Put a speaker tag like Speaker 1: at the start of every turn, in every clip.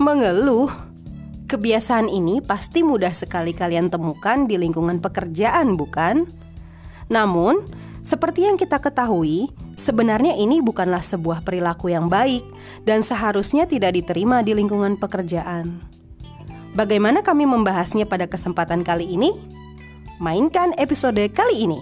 Speaker 1: Mengeluh. Kebiasaan ini pasti mudah sekali kalian temukan di lingkungan pekerjaan, bukan? Namun, seperti yang kita ketahui, sebenarnya ini bukanlah sebuah perilaku yang baik dan seharusnya tidak diterima di lingkungan pekerjaan. Bagaimana kami membahasnya pada kesempatan kali ini? Mainkan episode kali ini.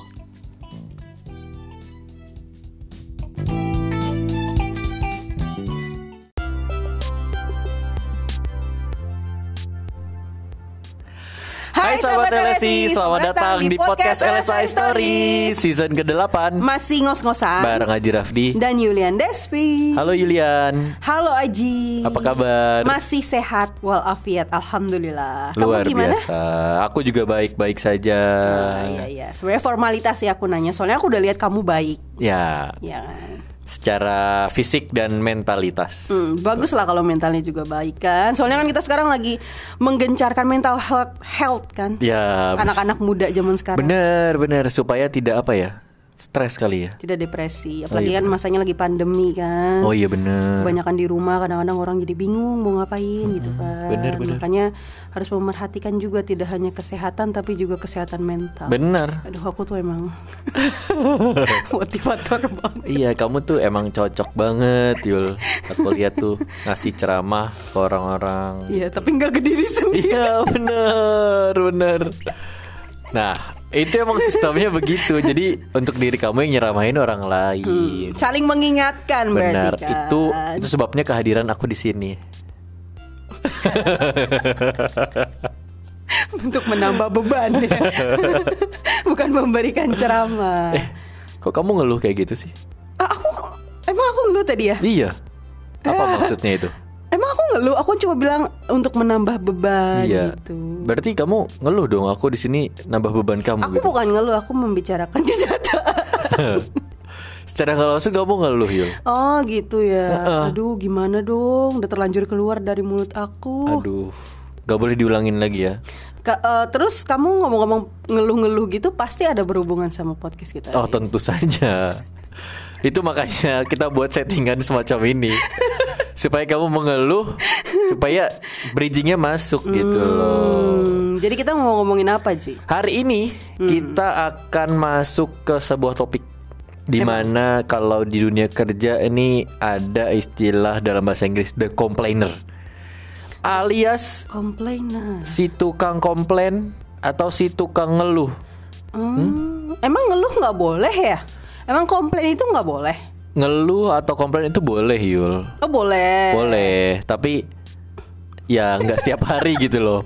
Speaker 2: Hai sahabat LSI, selamat datang di podcast LSI Story season ke-8
Speaker 1: Masih ngos-ngosan
Speaker 2: bareng Haji Rafdi.
Speaker 1: dan Yulian Despi.
Speaker 2: Halo Yulian,
Speaker 1: Halo Aji.
Speaker 2: apa kabar?
Speaker 1: Masih sehat walafiat, alhamdulillah.
Speaker 2: Luar
Speaker 1: Kamu gimana?
Speaker 2: biasa. Aku juga baik-baik saja.
Speaker 1: Ah, Iya iya. Sebenarnya formalitas sih aku nanya. Soalnya aku udah lihat kamu baik.
Speaker 2: Ya,
Speaker 1: Ya kan.
Speaker 2: secara fisik dan mentalitas.
Speaker 1: Hmm, bagus lah kalau mentalnya juga baik kan. Soalnya kan kita sekarang lagi menggencarkan mental health, health kan.
Speaker 2: Ya,
Speaker 1: Anak-anak muda zaman sekarang.
Speaker 2: benar-benar supaya tidak apa ya? Stres kali ya.
Speaker 1: Tidak depresi. Apalagi
Speaker 2: iya,
Speaker 1: kan masanya lagi pandemi kan.
Speaker 2: Oh iya Hmm, benar.
Speaker 1: Kebanyakan di rumah kadang-kadang orang jadi bingung mau ngapain gitu kan.
Speaker 2: bener, bener.
Speaker 1: Makanya harus memerhatikan juga tidak hanya kesehatan tapi juga kesehatan mental.
Speaker 2: Benar.
Speaker 1: Aduh aku tuh emang motivator banget.
Speaker 2: Iya, kamu tuh emang cocok banget, Yul. Aku lihat tuh ngasih ceramah ke orang-orang.
Speaker 1: Iya, tapi nggak ke diri sendiri.
Speaker 2: Iya bener bener. Nah itu emang sistemnya begitu. Jadi untuk diri kamu yang nyeramahin orang lain.
Speaker 1: Saling mengingatkan
Speaker 2: Benar
Speaker 1: Hmm. berarti kan.
Speaker 2: itu itu sebabnya kehadiran aku di sini.
Speaker 1: untuk menambah beban ya. Bukan memberikan ceramah.
Speaker 2: Eh kok kamu ngeluh kayak gitu sih?
Speaker 1: Ah, aku emang aku ngeluh tadi ya?
Speaker 2: Iya. Apa maksudnya itu?
Speaker 1: Emang aku ngeluh, aku cuma bilang untuk menambah beban
Speaker 2: Iya.
Speaker 1: gitu.
Speaker 2: Berarti kamu ngeluh dong. Aku di sini nambah beban kamu
Speaker 1: Aku
Speaker 2: gitu.
Speaker 1: bukan ngeluh, aku membicarakan kenyataan.
Speaker 2: Secara nggak langsung kamu ngeluh Yul.
Speaker 1: Oh, gitu ya.
Speaker 2: Heeh.
Speaker 1: Aduh, gimana dong? Udah terlanjur keluar dari mulut aku.
Speaker 2: Aduh. Gak boleh diulangin lagi ya.
Speaker 1: Ka- eh, terus kamu ngomong-ngomong ngeluh-ngeluh gitu pasti ada berhubungan sama podcast kita.
Speaker 2: Oh tentu saja Itu makanya kita buat settingan semacam ini Supaya kamu mengeluh Supaya bridgingnya masuk gitu loh
Speaker 1: Hmm, jadi kita mau ngomongin apa, Ji?
Speaker 2: Hari ini kita akan masuk ke sebuah topik Dimana kalau di dunia kerja ini ada istilah dalam bahasa Inggris The Complainer Alias
Speaker 1: Komplainer.
Speaker 2: si tukang komplain atau si tukang ngeluh
Speaker 1: Hmm, Emang ngeluh nggak boleh ya? Emang komplain itu nggak boleh?
Speaker 2: Ngeluh atau komplain itu boleh Yul
Speaker 1: Oh boleh.
Speaker 2: Boleh, tapi ya nggak setiap hari gitu loh.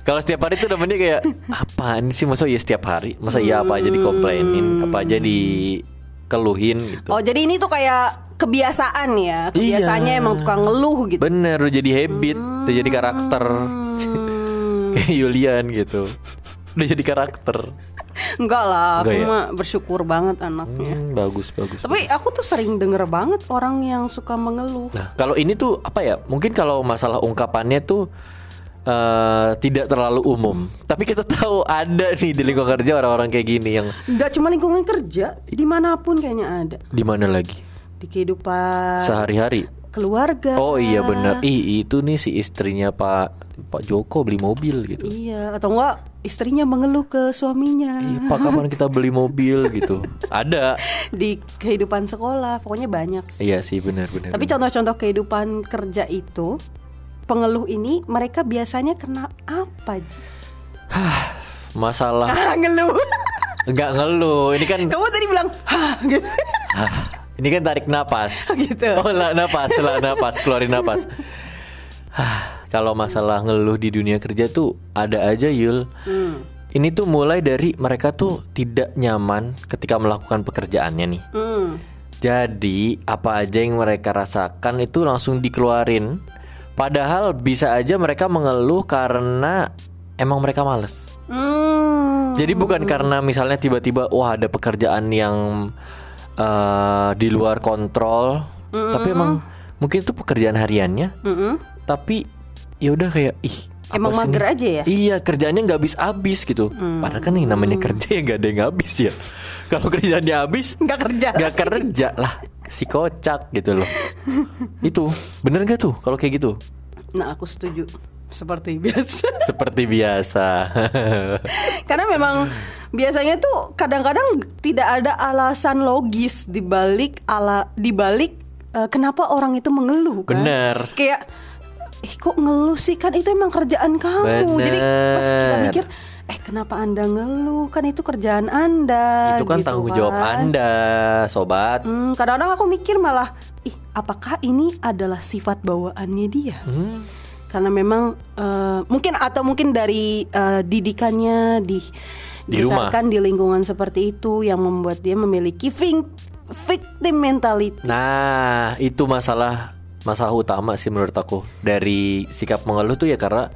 Speaker 2: Kalau setiap hari itu namanya kayak apaan sih masa ya setiap hari? Masa iya apa aja dikomplainin, apa aja dikeluhin gitu.
Speaker 1: Oh jadi ini tuh kayak kebiasaan ya? Kebiasaannya
Speaker 2: Iya.
Speaker 1: emang tukang ngeluh gitu.
Speaker 2: Bener udah jadi habit, udah jadi karakter.
Speaker 1: Hmm,
Speaker 2: kayak Yulian gitu. Udah jadi karakter.
Speaker 1: enggak lah, aku
Speaker 2: Enggak ya?
Speaker 1: mah bersyukur banget anaknya.
Speaker 2: Hmm, bagus bagus.
Speaker 1: Tapi aku tuh sering denger banget orang yang suka mengeluh.
Speaker 2: Nah, kalau ini tuh apa ya? Mungkin kalau masalah ungkapannya tuh eh, tidak terlalu umum. Tapi kita tahu ada nih di lingkungan kerja orang-orang kayak gini yang
Speaker 1: Enggak cuma lingkungan kerja, dimanapun kayaknya ada.
Speaker 2: di mana lagi?
Speaker 1: Di kehidupan
Speaker 2: Sehari-hari.
Speaker 1: keluarga.
Speaker 2: Oh iya benar. Ih, itu nih si istrinya Pak Pak Joko beli mobil gitu.
Speaker 1: Iya, atau enggak istrinya mengeluh ke suaminya.
Speaker 2: Iya, Pak kapan kita beli mobil gitu. Ada.
Speaker 1: di kehidupan sekolah pokoknya banyak sih.
Speaker 2: Iya sih benar-benar.
Speaker 1: tapi contoh-contoh kehidupan kerja itu pengeluh ini mereka biasanya kena apa Ji?
Speaker 2: Masalah
Speaker 1: ah ngeluh
Speaker 2: nggak ngeluh. Ini kan
Speaker 1: kamu tadi bilang hah gitu
Speaker 2: ini kan tarik napas.
Speaker 1: Gitu.
Speaker 2: Oh, lah napas, lah napas, keluarin napas. Hah, kalau masalah ngeluh di dunia kerja tuh ada aja Yul.
Speaker 1: Hmm.
Speaker 2: Ini tuh mulai dari mereka tuh tidak nyaman ketika melakukan pekerjaannya nih.
Speaker 1: hmm.
Speaker 2: Jadi apa aja yang mereka rasakan itu langsung dikeluarin Padahal bisa aja mereka mengeluh karena emang mereka males
Speaker 1: Hmm.
Speaker 2: Jadi bukan karena misalnya tiba-tiba wah ada pekerjaan yang eh, di luar kontrol
Speaker 1: Hmm.
Speaker 2: Tapi emang mungkin itu pekerjaan hariannya
Speaker 1: Mm-mm.
Speaker 2: Tapi ya udah kayak ih
Speaker 1: Hmm.
Speaker 2: apa
Speaker 1: emang
Speaker 2: sih ini?
Speaker 1: mager aja ya Hmm.
Speaker 2: Iya kerjaannya nggak habis habis gitu. Padahal kan yang namanya kerja ya nggak ada yang habis ya. Kalau kerjaannya habis
Speaker 1: nggak kerja
Speaker 2: nggak kerja lah si kocak gitu loh itu bener gak tuh kalau kayak gitu
Speaker 1: Nah, aku setuju. Seperti biasa.
Speaker 2: Seperti biasa.
Speaker 1: Karena memang biasanya tuh kadang-kadang tidak ada alasan logis di balik ala di balik eh, kenapa orang itu mengeluh kan.
Speaker 2: Bener.
Speaker 1: Kayak ih kok ngeluh sih kan itu emang kerjaan kamu. Jadi pas kita
Speaker 2: Bener.
Speaker 1: mikir eh kenapa Anda ngeluh? Kan itu kerjaan Anda.
Speaker 2: Itu kan
Speaker 1: gitu
Speaker 2: tanggung jawab
Speaker 1: kan.
Speaker 2: Anda, sobat.
Speaker 1: Hmm, kadang-kadang aku mikir malah ih apakah ini adalah sifat bawaannya dia?
Speaker 2: Hmm,
Speaker 1: karena memang eh, mungkin atau mungkin dari eh, didikannya di
Speaker 2: Di rumah.
Speaker 1: dibesarkan di lingkungan seperti itu yang membuat dia memiliki ving- victim mentality.
Speaker 2: Nah, itu masalah masalah utama sih menurut aku dari sikap mengeluh tuh ya karena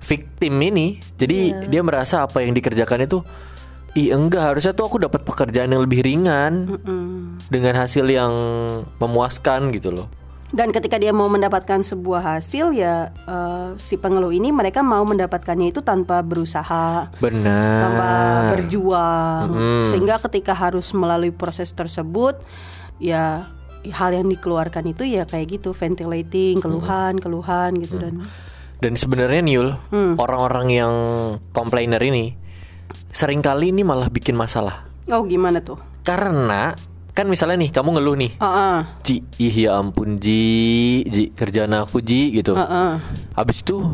Speaker 2: victim ini. Jadi dia merasa apa yang dikerjakan itu ih enggak harusnya tuh aku dapat pekerjaan yang lebih ringan
Speaker 1: Mm.
Speaker 2: dengan hasil yang memuaskan gitu loh.
Speaker 1: Dan ketika dia mau mendapatkan sebuah hasil ya eh, si pengeluh ini mereka mau mendapatkannya itu tanpa berusaha, tanpa
Speaker 2: Benar.
Speaker 1: berjuang. Sehingga ketika harus melalui proses tersebut ya hal yang dikeluarkan itu ya kayak gitu ventilating, keluhan, keluhan gitu dan
Speaker 2: Dan sebenarnya Niul, orang-orang yang komplainer ini seringkali ini malah bikin masalah.
Speaker 1: Oh gimana tuh?
Speaker 2: Karena kan misalnya nih kamu ngeluh nih,
Speaker 1: Ah,
Speaker 2: Ji, ih ya ampun Ji, Ji kerjaan aku Ji gitu.
Speaker 1: ah, ah, ah.
Speaker 2: Habis itu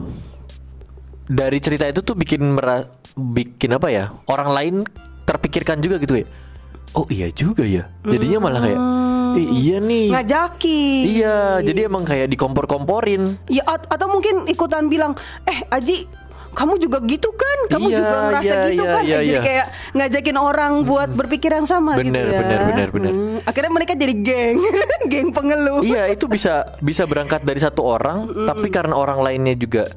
Speaker 2: dari cerita itu tuh bikin mera- bikin apa ya? Orang lain terpikirkan juga gitu ya. Oh iya juga ya. Jadinya malah kayak "Ih, iya nih.
Speaker 1: ngajakin.
Speaker 2: Iya, jadi emang kayak dikompor-komporin.
Speaker 1: Ya at- atau mungkin ikutan bilang, "Eh, Aji, kamu juga gitu kan? Kamu
Speaker 2: Iya,
Speaker 1: juga merasa
Speaker 2: iya,
Speaker 1: gitu
Speaker 2: iya,
Speaker 1: kan?" Eh,
Speaker 2: iya,
Speaker 1: jadi
Speaker 2: iya.
Speaker 1: kayak ngajakin orang buat berpikir yang sama
Speaker 2: Bener,
Speaker 1: gitu ya.
Speaker 2: bener, bener, bener.
Speaker 1: Hmm, Akhirnya mereka jadi geng, geng pengeluh.
Speaker 2: iya, itu bisa bisa berangkat dari satu orang, tapi karena orang lainnya juga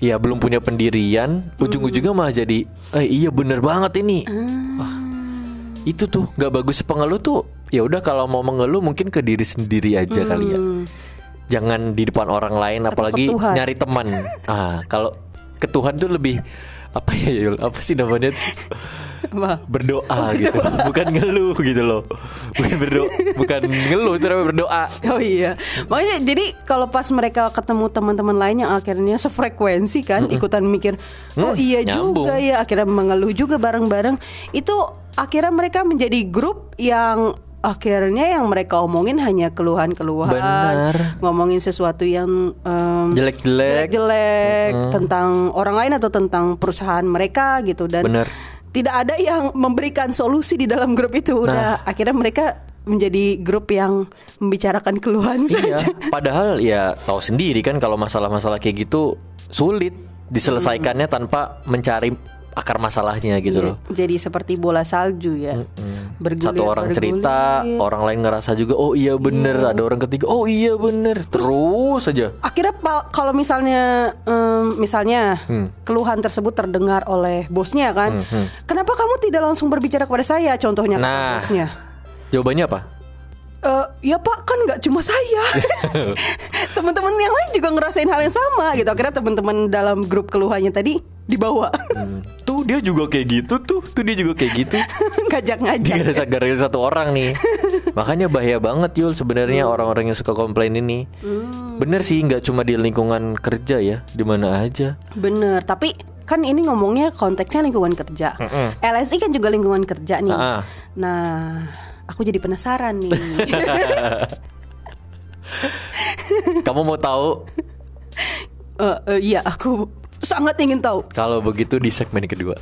Speaker 2: ya belum punya pendirian, ujung-ujungnya malah jadi eh iya bener banget ini. Wah, itu tuh nggak bagus pengeluh tuh. Ya udah kalau mau mengeluh mungkin ke diri sendiri aja kali ya. Jangan di depan orang lain apalagi
Speaker 1: Tuhan.
Speaker 2: nyari teman. ah, kalau ke Tuhan tuh lebih apa ya Yul? Apa sih namanya? tuh?
Speaker 1: Apa?
Speaker 2: berdoa gitu bukan ngeluh gitu loh bukan berdoa bukan ngeluh itu namanya berdoa
Speaker 1: Oh iya, makanya jadi kalau pas mereka ketemu teman-teman lain yang akhirnya sefrekuensi kan, ikutan mikir, oh
Speaker 2: Mm,
Speaker 1: iya
Speaker 2: nyambung."
Speaker 1: juga ya, akhirnya mengeluh juga bareng-bareng. Itu akhirnya mereka menjadi grup yang akhirnya yang mereka omongin hanya keluhan-keluhan,
Speaker 2: Benar.
Speaker 1: ngomongin sesuatu yang em,
Speaker 2: jelek-jelek
Speaker 1: jelek-jelek tentang orang lain atau tentang perusahaan mereka gitu dan
Speaker 2: Bener.
Speaker 1: tidak ada yang memberikan solusi di dalam grup itu
Speaker 2: Nah.
Speaker 1: udah akhirnya mereka menjadi grup yang membicarakan keluhan
Speaker 2: iya
Speaker 1: saja
Speaker 2: padahal ya tahu sendiri kan kalau masalah-masalah kayak gitu sulit diselesaikannya tanpa mencari akar masalahnya gitu loh
Speaker 1: jadi seperti bola salju ya bergulir
Speaker 2: satu orang cerita
Speaker 1: bergulir.
Speaker 2: orang lain ngerasa juga oh iya bener ada orang ketiga oh iya bener terus saja
Speaker 1: akhirnya pa- kalau misalnya em, misalnya
Speaker 2: Hmm.
Speaker 1: keluhan tersebut terdengar oleh bosnya kan kenapa kamu tidak langsung berbicara kepada saya contohnya kata
Speaker 2: Nah.
Speaker 1: bosnya
Speaker 2: jawabannya apa
Speaker 1: "Eh, ya pak kan nggak cuma saya teman-teman yang lain juga ngerasain hal yang sama gitu akhirnya teman-teman dalam grup keluhannya tadi dibawa
Speaker 2: tuh dia juga kayak gitu tuh tuh dia juga kayak gitu
Speaker 1: ngajak-ngajak
Speaker 2: gara gara satu orang nih makanya bahaya banget Yul sebenarnya
Speaker 1: Hmm.
Speaker 2: orang-orang yang suka komplain ini bener sih nggak cuma di lingkungan kerja ya di mana aja
Speaker 1: bener tapi kan ini ngomongnya konteksnya lingkungan kerja LSI kan juga lingkungan kerja nih
Speaker 2: Ah.
Speaker 1: nah aku jadi penasaran nih
Speaker 2: kamu mau tahu
Speaker 1: Eh, eh, iya aku sangat ingin tahu
Speaker 2: kalau begitu di segmen kedua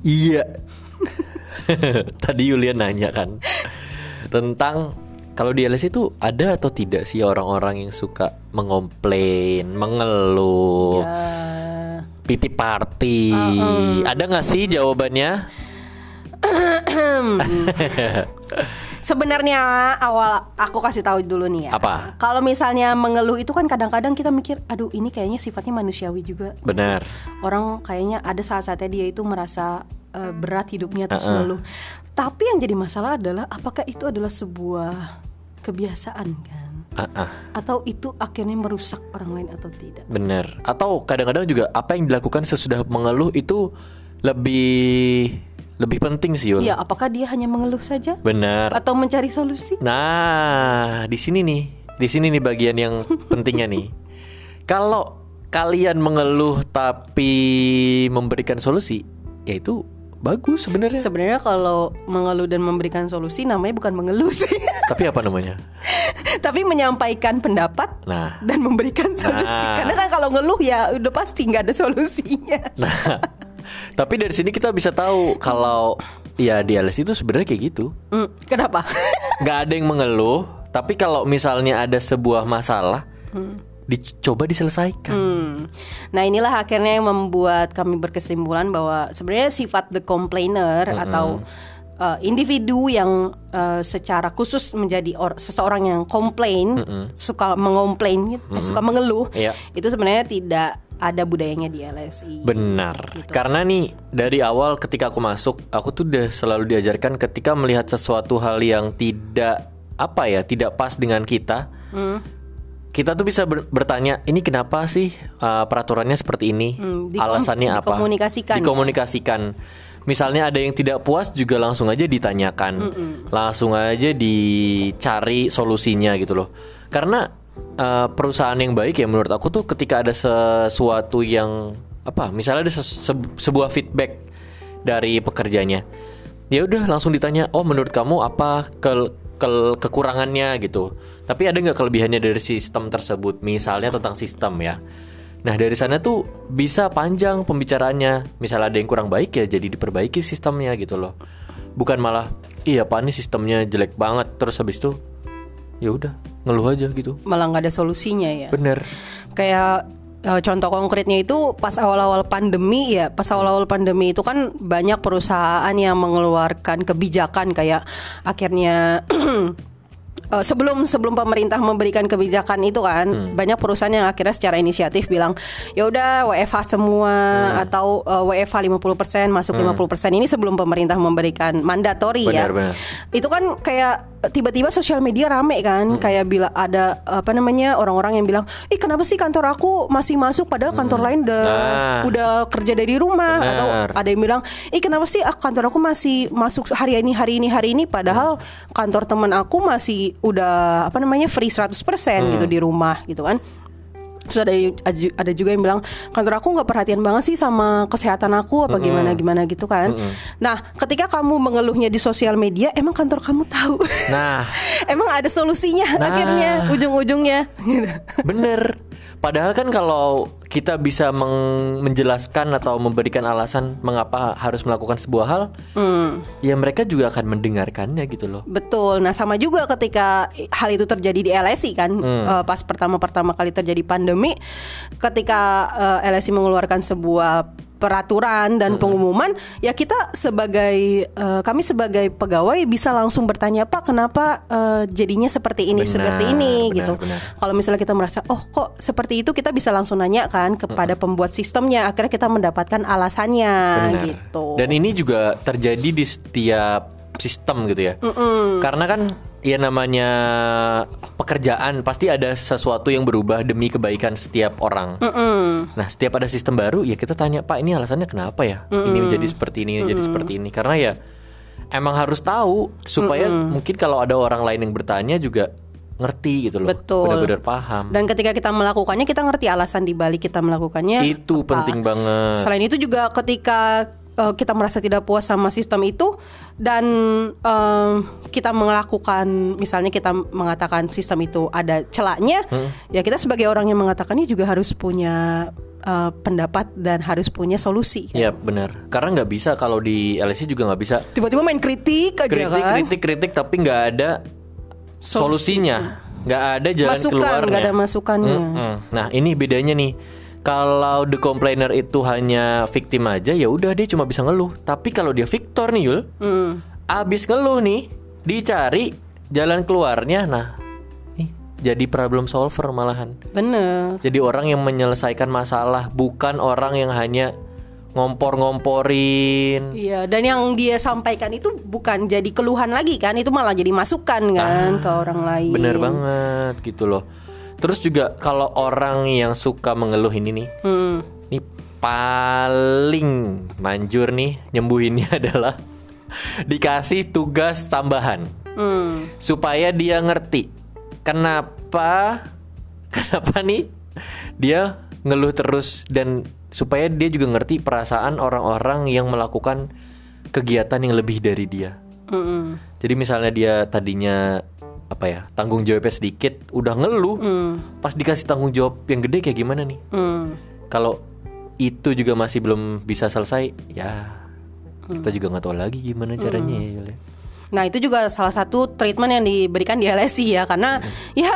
Speaker 2: Iya. Tadi Yulian nanya kan tentang kalau di LSI itu ada atau tidak sih orang-orang yang suka mengomplain, mengeluh,
Speaker 1: Eh,
Speaker 2: piti party. Ada nggak sih jawabannya?
Speaker 1: Sebenarnya awal aku kasih tahu dulu nih ya.
Speaker 2: Apa?
Speaker 1: Kalau misalnya mengeluh itu kan kadang-kadang kita mikir, aduh ini kayaknya sifatnya manusiawi juga.
Speaker 2: Benar.
Speaker 1: Orang kayaknya ada saat-saatnya dia itu merasa eh, berat hidupnya terus ngeluh. Tapi yang jadi masalah adalah apakah itu adalah sebuah kebiasaan kan?
Speaker 2: Ah, ah,
Speaker 1: Atau itu akhirnya merusak orang lain atau tidak?
Speaker 2: benar. Atau kadang-kadang juga apa yang dilakukan sesudah mengeluh itu lebih lebih penting sih Yul.
Speaker 1: Ya, apakah dia hanya mengeluh saja
Speaker 2: Benar.
Speaker 1: atau mencari solusi?
Speaker 2: Nah, di sini nih, di sini nih bagian yang pentingnya nih. Kalau kalian mengeluh tapi memberikan solusi, ya itu bagus sebenarnya.
Speaker 1: Sebenarnya kalau mengeluh dan memberikan solusi namanya bukan mengeluh sih,
Speaker 2: tapi apa namanya?
Speaker 1: tapi menyampaikan pendapat
Speaker 2: Nah,
Speaker 1: dan memberikan solusi.
Speaker 2: Nah.
Speaker 1: Karena kan kalau ngeluh ya udah pasti nggak ada solusinya.
Speaker 2: nah. tapi dari sini kita bisa tahu kalau ya dialis itu sebenarnya kayak gitu.
Speaker 1: Hmm, kenapa?
Speaker 2: nggak ada yang mengeluh tapi kalau misalnya ada sebuah masalah dicoba diselesaikan
Speaker 1: Hmm. Nah inilah akhirnya yang membuat kami berkesimpulan bahwa sebenarnya sifat the complainer atau uh, individu yang uh, secara khusus menjadi or- seseorang yang komplain suka mengomplain gitu, eh, suka mengeluh
Speaker 2: Iya.
Speaker 1: itu sebenarnya tidak ada budayanya di LSI.
Speaker 2: benar karena nih dari awal ketika aku masuk aku tuh udah selalu diajarkan ketika melihat sesuatu hal yang tidak apa ya tidak pas dengan kita kita tuh bisa ber- bertanya ini kenapa sih uh, peraturannya seperti ini
Speaker 1: Hmm, dikom-
Speaker 2: alasannya apa
Speaker 1: dikomunikasikan ya.
Speaker 2: dikomunikasikan. Misalnya ada yang tidak puas juga langsung aja ditanyakan, langsung aja dicari solusinya gitu loh. Karena eh, perusahaan yang baik ya menurut aku tuh ketika ada sesuatu yang apa, misalnya ada se- se- sebuah feedback dari pekerjanya, ya udah langsung ditanya, oh menurut kamu apa ke- ke- kekurangannya gitu. Tapi ada nggak kelebihannya dari sistem tersebut? Misalnya tentang sistem ya. Nah dari sana tuh bisa panjang pembicaraannya. Misal ada yang kurang baik ya jadi diperbaiki sistemnya gitu loh. Bukan malah iya pak ini sistemnya jelek banget terus habis itu ya udah ngeluh aja gitu.
Speaker 1: Malah nggak ada solusinya ya.
Speaker 2: Bener.
Speaker 1: kayak eh, contoh konkretnya itu pas awal-awal pandemi ya pas awal-awal pandemi itu kan banyak perusahaan yang mengeluarkan kebijakan kayak akhirnya eh, sebelum sebelum pemerintah memberikan kebijakan itu kan
Speaker 2: Hmm.
Speaker 1: banyak perusahaan yang akhirnya secara inisiatif bilang ya udah WFH semua
Speaker 2: Hmm.
Speaker 1: atau eh, WFH 50% masuk 50% ini sebelum pemerintah memberikan mandatori ya
Speaker 2: Benar, benar.
Speaker 1: itu kan kayak eh, tiba-tiba sosial media rame kan
Speaker 2: Hmm.
Speaker 1: kayak bila ada apa namanya orang-orang yang bilang ih kenapa sih kantor aku masih masuk padahal kantor lain udah
Speaker 2: Hmm. Nah.
Speaker 1: udah kerja dari rumah
Speaker 2: Benar.
Speaker 1: Nah, atau ada yang bilang ih kenapa sih ah, kantor aku masih masuk hari ini hari ini hari ini padahal kantor teman aku masih udah apa namanya free 100% gitu
Speaker 2: Hmm.
Speaker 1: di rumah gitu kan Terus ada ada juga yang bilang kantor aku nggak perhatian banget sih sama kesehatan aku
Speaker 2: Hmm.
Speaker 1: apa gimana gimana gitu kan. Nah, ketika kamu mengeluhnya di sosial media, emang kantor kamu tahu?
Speaker 2: Nah
Speaker 1: emang ada solusinya
Speaker 2: Nah.
Speaker 1: akhirnya ujung-ujungnya.
Speaker 2: bener. Padahal kan kalau kita bisa meng- menjelaskan atau memberikan alasan mengapa harus melakukan sebuah hal,
Speaker 1: Hmm,
Speaker 2: ya mereka juga akan mendengarkannya gitu loh.
Speaker 1: betul. Nah, sama juga ketika hal itu terjadi di LSI kan
Speaker 2: Hmm.
Speaker 1: eh, pas pertama-pertama kali terjadi pandemi, ketika eh, LSI mengeluarkan sebuah peraturan
Speaker 2: Hmm.
Speaker 1: dan pengumuman, ya kita sebagai eh, kami sebagai pegawai bisa langsung bertanya, "Pak, kenapa eh, jadinya seperti ini,
Speaker 2: Benar,
Speaker 1: seperti ini?"
Speaker 2: benar,
Speaker 1: gitu.
Speaker 2: benar.
Speaker 1: Kalau misalnya kita merasa, "Oh, kok seperti itu?" kita bisa langsung nanya kan kepada
Speaker 2: Hmm.
Speaker 1: pembuat sistemnya, akhirnya kita mendapatkan alasannya
Speaker 2: Benar.
Speaker 1: gitu.
Speaker 2: Dan ini juga terjadi di setiap sistem gitu ya. Karena kan ya namanya pekerjaan pasti ada sesuatu yang berubah demi kebaikan setiap orang.
Speaker 1: Mm-mm.
Speaker 2: Nah, setiap ada sistem baru ya kita tanya, "Pak, ini alasannya kenapa ya? Ini menjadi seperti ini, ini jadi seperti ini." Karena ya emang harus tahu supaya mungkin kalau ada orang lain yang bertanya juga ngerti gitu loh.
Speaker 1: Betul.
Speaker 2: Benar-benar paham.
Speaker 1: Dan ketika kita melakukannya kita ngerti alasan dibalik kita melakukannya.
Speaker 2: Itu
Speaker 1: apa.
Speaker 2: penting banget.
Speaker 1: Selain itu juga ketika eh, kita merasa tidak puas sama sistem itu dan em, kita melakukan misalnya kita mengatakan sistem itu ada celaknya,
Speaker 2: Hmm.
Speaker 1: ya kita sebagai orang yang mengatakannya juga harus punya eh, pendapat dan harus punya solusi.
Speaker 2: Iya, benar. Karena nggak bisa kalau di LSI juga nggak bisa
Speaker 1: Tiba-tiba main kritik aja
Speaker 2: kritik
Speaker 1: kan.
Speaker 2: kritik kritik tapi nggak ada solusinya nggak ada jalan
Speaker 1: Masukan
Speaker 2: keluarnya
Speaker 1: nggak ada masukannya.
Speaker 2: Mm-mm. nah ini bedanya nih kalau the complainer itu hanya victim aja ya udah dia cuma bisa ngeluh tapi kalau dia victor nih Yul
Speaker 1: Hmm.
Speaker 2: abis ngeluh nih dicari jalan keluarnya nah nih jadi problem solver malahan
Speaker 1: Bener.
Speaker 2: jadi orang yang menyelesaikan masalah bukan orang yang hanya ngompor-ngomporin
Speaker 1: Iya, dan yang dia sampaikan itu bukan jadi keluhan lagi kan, itu malah jadi masukan kan ke orang lain.
Speaker 2: Ah, Bener banget gitu loh. Terus juga kalau orang yang suka mengeluh ini nih,
Speaker 1: Hmm.
Speaker 2: nih paling manjur nih nyembuhinnya adalah dikasih tugas tambahan
Speaker 1: Hmm.
Speaker 2: supaya dia ngerti kenapa kenapa nih dia ngeluh terus dan supaya dia juga ngerti perasaan orang-orang yang melakukan kegiatan yang lebih dari dia.
Speaker 1: Mm-mm.
Speaker 2: Jadi misalnya dia tadinya apa ya tanggung jawabnya sedikit udah ngeluh pas dikasih tanggung jawab yang gede kayak gimana nih
Speaker 1: Hmm.
Speaker 2: kalau itu juga masih belum bisa selesai ya kita juga nggak tahu lagi gimana caranya ya Yul ya.
Speaker 1: Nah itu juga salah satu treatment yang diberikan di LSI ya Karena ya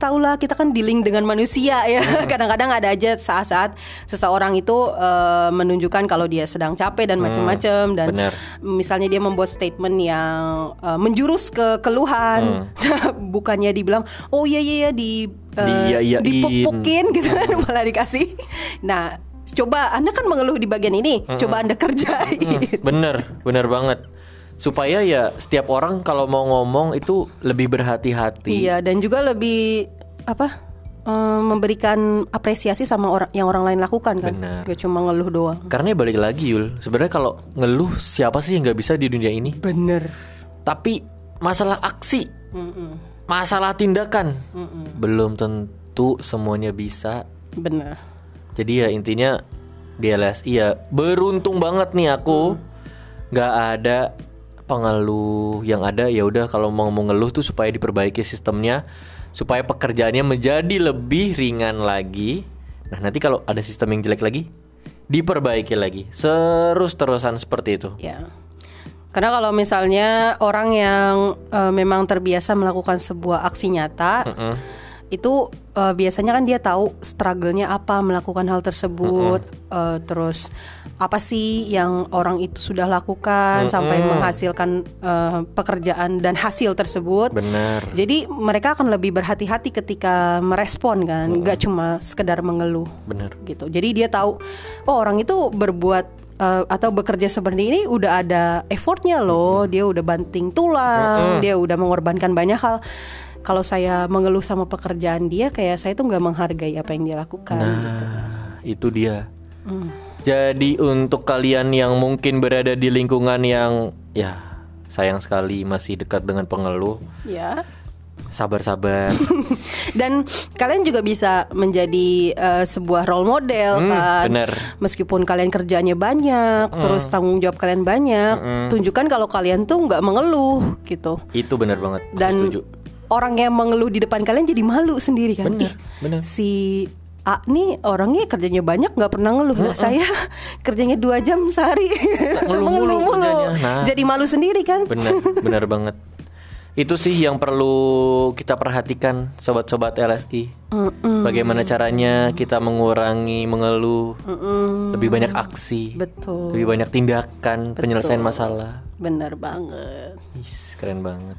Speaker 1: tahulah kita kan dealing dengan manusia ya Kadang-kadang ada aja saat-saat seseorang itu eh, menunjukkan kalau dia sedang capek dan macam-macam Dan
Speaker 2: bener.
Speaker 1: misalnya dia membuat statement yang eh, menjurus ke keluhan Bukannya dibilang oh iya iya iya di eh,
Speaker 2: Diiyain.
Speaker 1: dipuk-pukin gitu kan Malah dikasih Nah coba anda kan mengeluh di bagian ini Coba anda kerjain
Speaker 2: Bener, bener banget. Supaya ya setiap orang kalau mau ngomong itu lebih berhati-hati.
Speaker 1: Iya dan juga lebih apa eh, memberikan apresiasi sama orang yang orang lain lakukan kan.
Speaker 2: Benar.
Speaker 1: Gak cuma ngeluh doang.
Speaker 2: Karena ya balik lagi Yul, sebenarnya kalau ngeluh siapa sih yang nggak bisa di dunia ini?
Speaker 1: Bener.
Speaker 2: Tapi masalah aksi, masalah tindakan, belum tentu semuanya bisa.
Speaker 1: Bener.
Speaker 2: Jadi ya intinya di LSI ya beruntung banget nih aku nggak ada pengeluh yang ada ya udah kalau mau mau ngeluh tuh supaya diperbaiki sistemnya supaya pekerjaannya menjadi lebih ringan lagi. Nah nanti kalau ada sistem yang jelek lagi diperbaiki lagi terus terusan seperti itu.
Speaker 1: Ya. Karena kalau misalnya orang yang eh, memang terbiasa melakukan sebuah aksi nyata itu eh, biasanya kan dia tahu struggle-nya apa melakukan hal tersebut Eh, terus apa sih yang orang itu sudah lakukan sampai menghasilkan eh, pekerjaan dan hasil tersebut.
Speaker 2: Bener.
Speaker 1: Jadi mereka akan lebih berhati-hati ketika merespon kan, nggak cuma sekedar mengeluh
Speaker 2: Bener.
Speaker 1: gitu. Jadi dia tahu, oh orang itu berbuat eh, atau bekerja seperti ini udah ada effortnya loh, dia udah banting tulang, dia udah mengorbankan banyak hal. Kalau saya mengeluh sama pekerjaan dia, kayak saya tuh nggak menghargai apa yang dia lakukan. gitu.
Speaker 2: Nah, itu dia.
Speaker 1: Hmm.
Speaker 2: Jadi untuk kalian yang mungkin berada di lingkungan yang ya sayang sekali masih dekat dengan pengeluh,
Speaker 1: Ya.
Speaker 2: sabar-sabar.
Speaker 1: Dan kalian juga bisa menjadi eh, sebuah role model
Speaker 2: Hmm,
Speaker 1: kan.
Speaker 2: bener. Hmm.
Speaker 1: Meskipun kalian kerjaannya banyak, terus tanggung jawab kalian banyak, tunjukkan kalau kalian tuh nggak mengeluh gitu.
Speaker 2: itu benar banget. Hmm. Aku
Speaker 1: Dan
Speaker 2: setuju.
Speaker 1: orang yang mengeluh di depan kalian jadi malu sendiri kan. Ih,
Speaker 2: Bener, bener.
Speaker 1: Si A nih orangnya kerjanya banyak nggak pernah ngeluh. Lah saya kerjanya dua jam sehari
Speaker 2: Hmm, Ngeluh mulu kerjanya. Nah.
Speaker 1: Jadi malu sendiri kan.
Speaker 2: Benar, benar banget. Itu sih yang perlu kita perhatikan sobat-sobat LSI. Bagaimana caranya kita mengurangi mengeluh, lebih banyak aksi,
Speaker 1: Betul.
Speaker 2: lebih banyak tindakan penyelesaian masalah.
Speaker 1: Bener banget.
Speaker 2: Is, keren banget.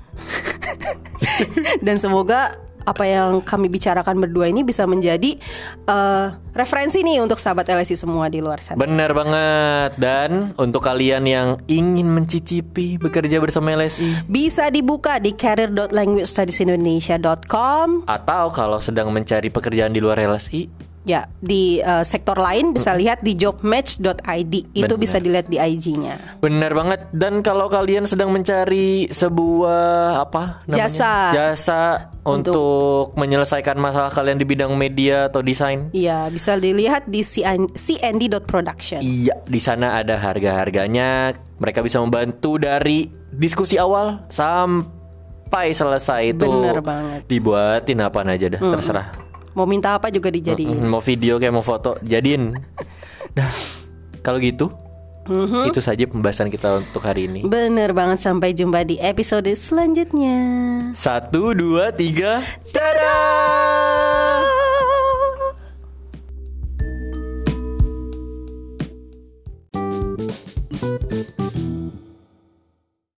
Speaker 1: Dan semoga apa yang kami bicarakan berdua ini bisa menjadi eh, referensi nih untuk sahabat LSI semua di luar sana.
Speaker 2: Benar banget. Dan untuk kalian yang ingin mencicipi bekerja bersama LSI
Speaker 1: Bisa dibuka di career.languagestudiesindonesia.com.
Speaker 2: atau kalau sedang mencari pekerjaan di luar LSI,
Speaker 1: Ya, di eh, sektor lain bisa lihat di jobmatch.id. Itu
Speaker 2: Benar.
Speaker 1: bisa dilihat di IG-nya.
Speaker 2: benar banget. Dan kalau kalian sedang mencari sebuah apa namanya?
Speaker 1: Jasa.
Speaker 2: Jasa untuk menyelesaikan masalah kalian di bidang media atau desain.
Speaker 1: Iya, bisa dilihat di CN- cnd.production.
Speaker 2: Iya, di sana ada harga-harganya. Mereka bisa membantu dari diskusi awal sampai selesai itu.
Speaker 1: Benar banget.
Speaker 2: Dibuatin apa aja dah, terserah.
Speaker 1: Mau minta apa juga dijadiin.
Speaker 2: Mm, mau video kayak mau foto jadiin nah kalau gitu itu saja pembahasan kita untuk hari ini
Speaker 1: Bener banget, sampai jumpa di episode selanjutnya.
Speaker 2: satu dua tiga dadah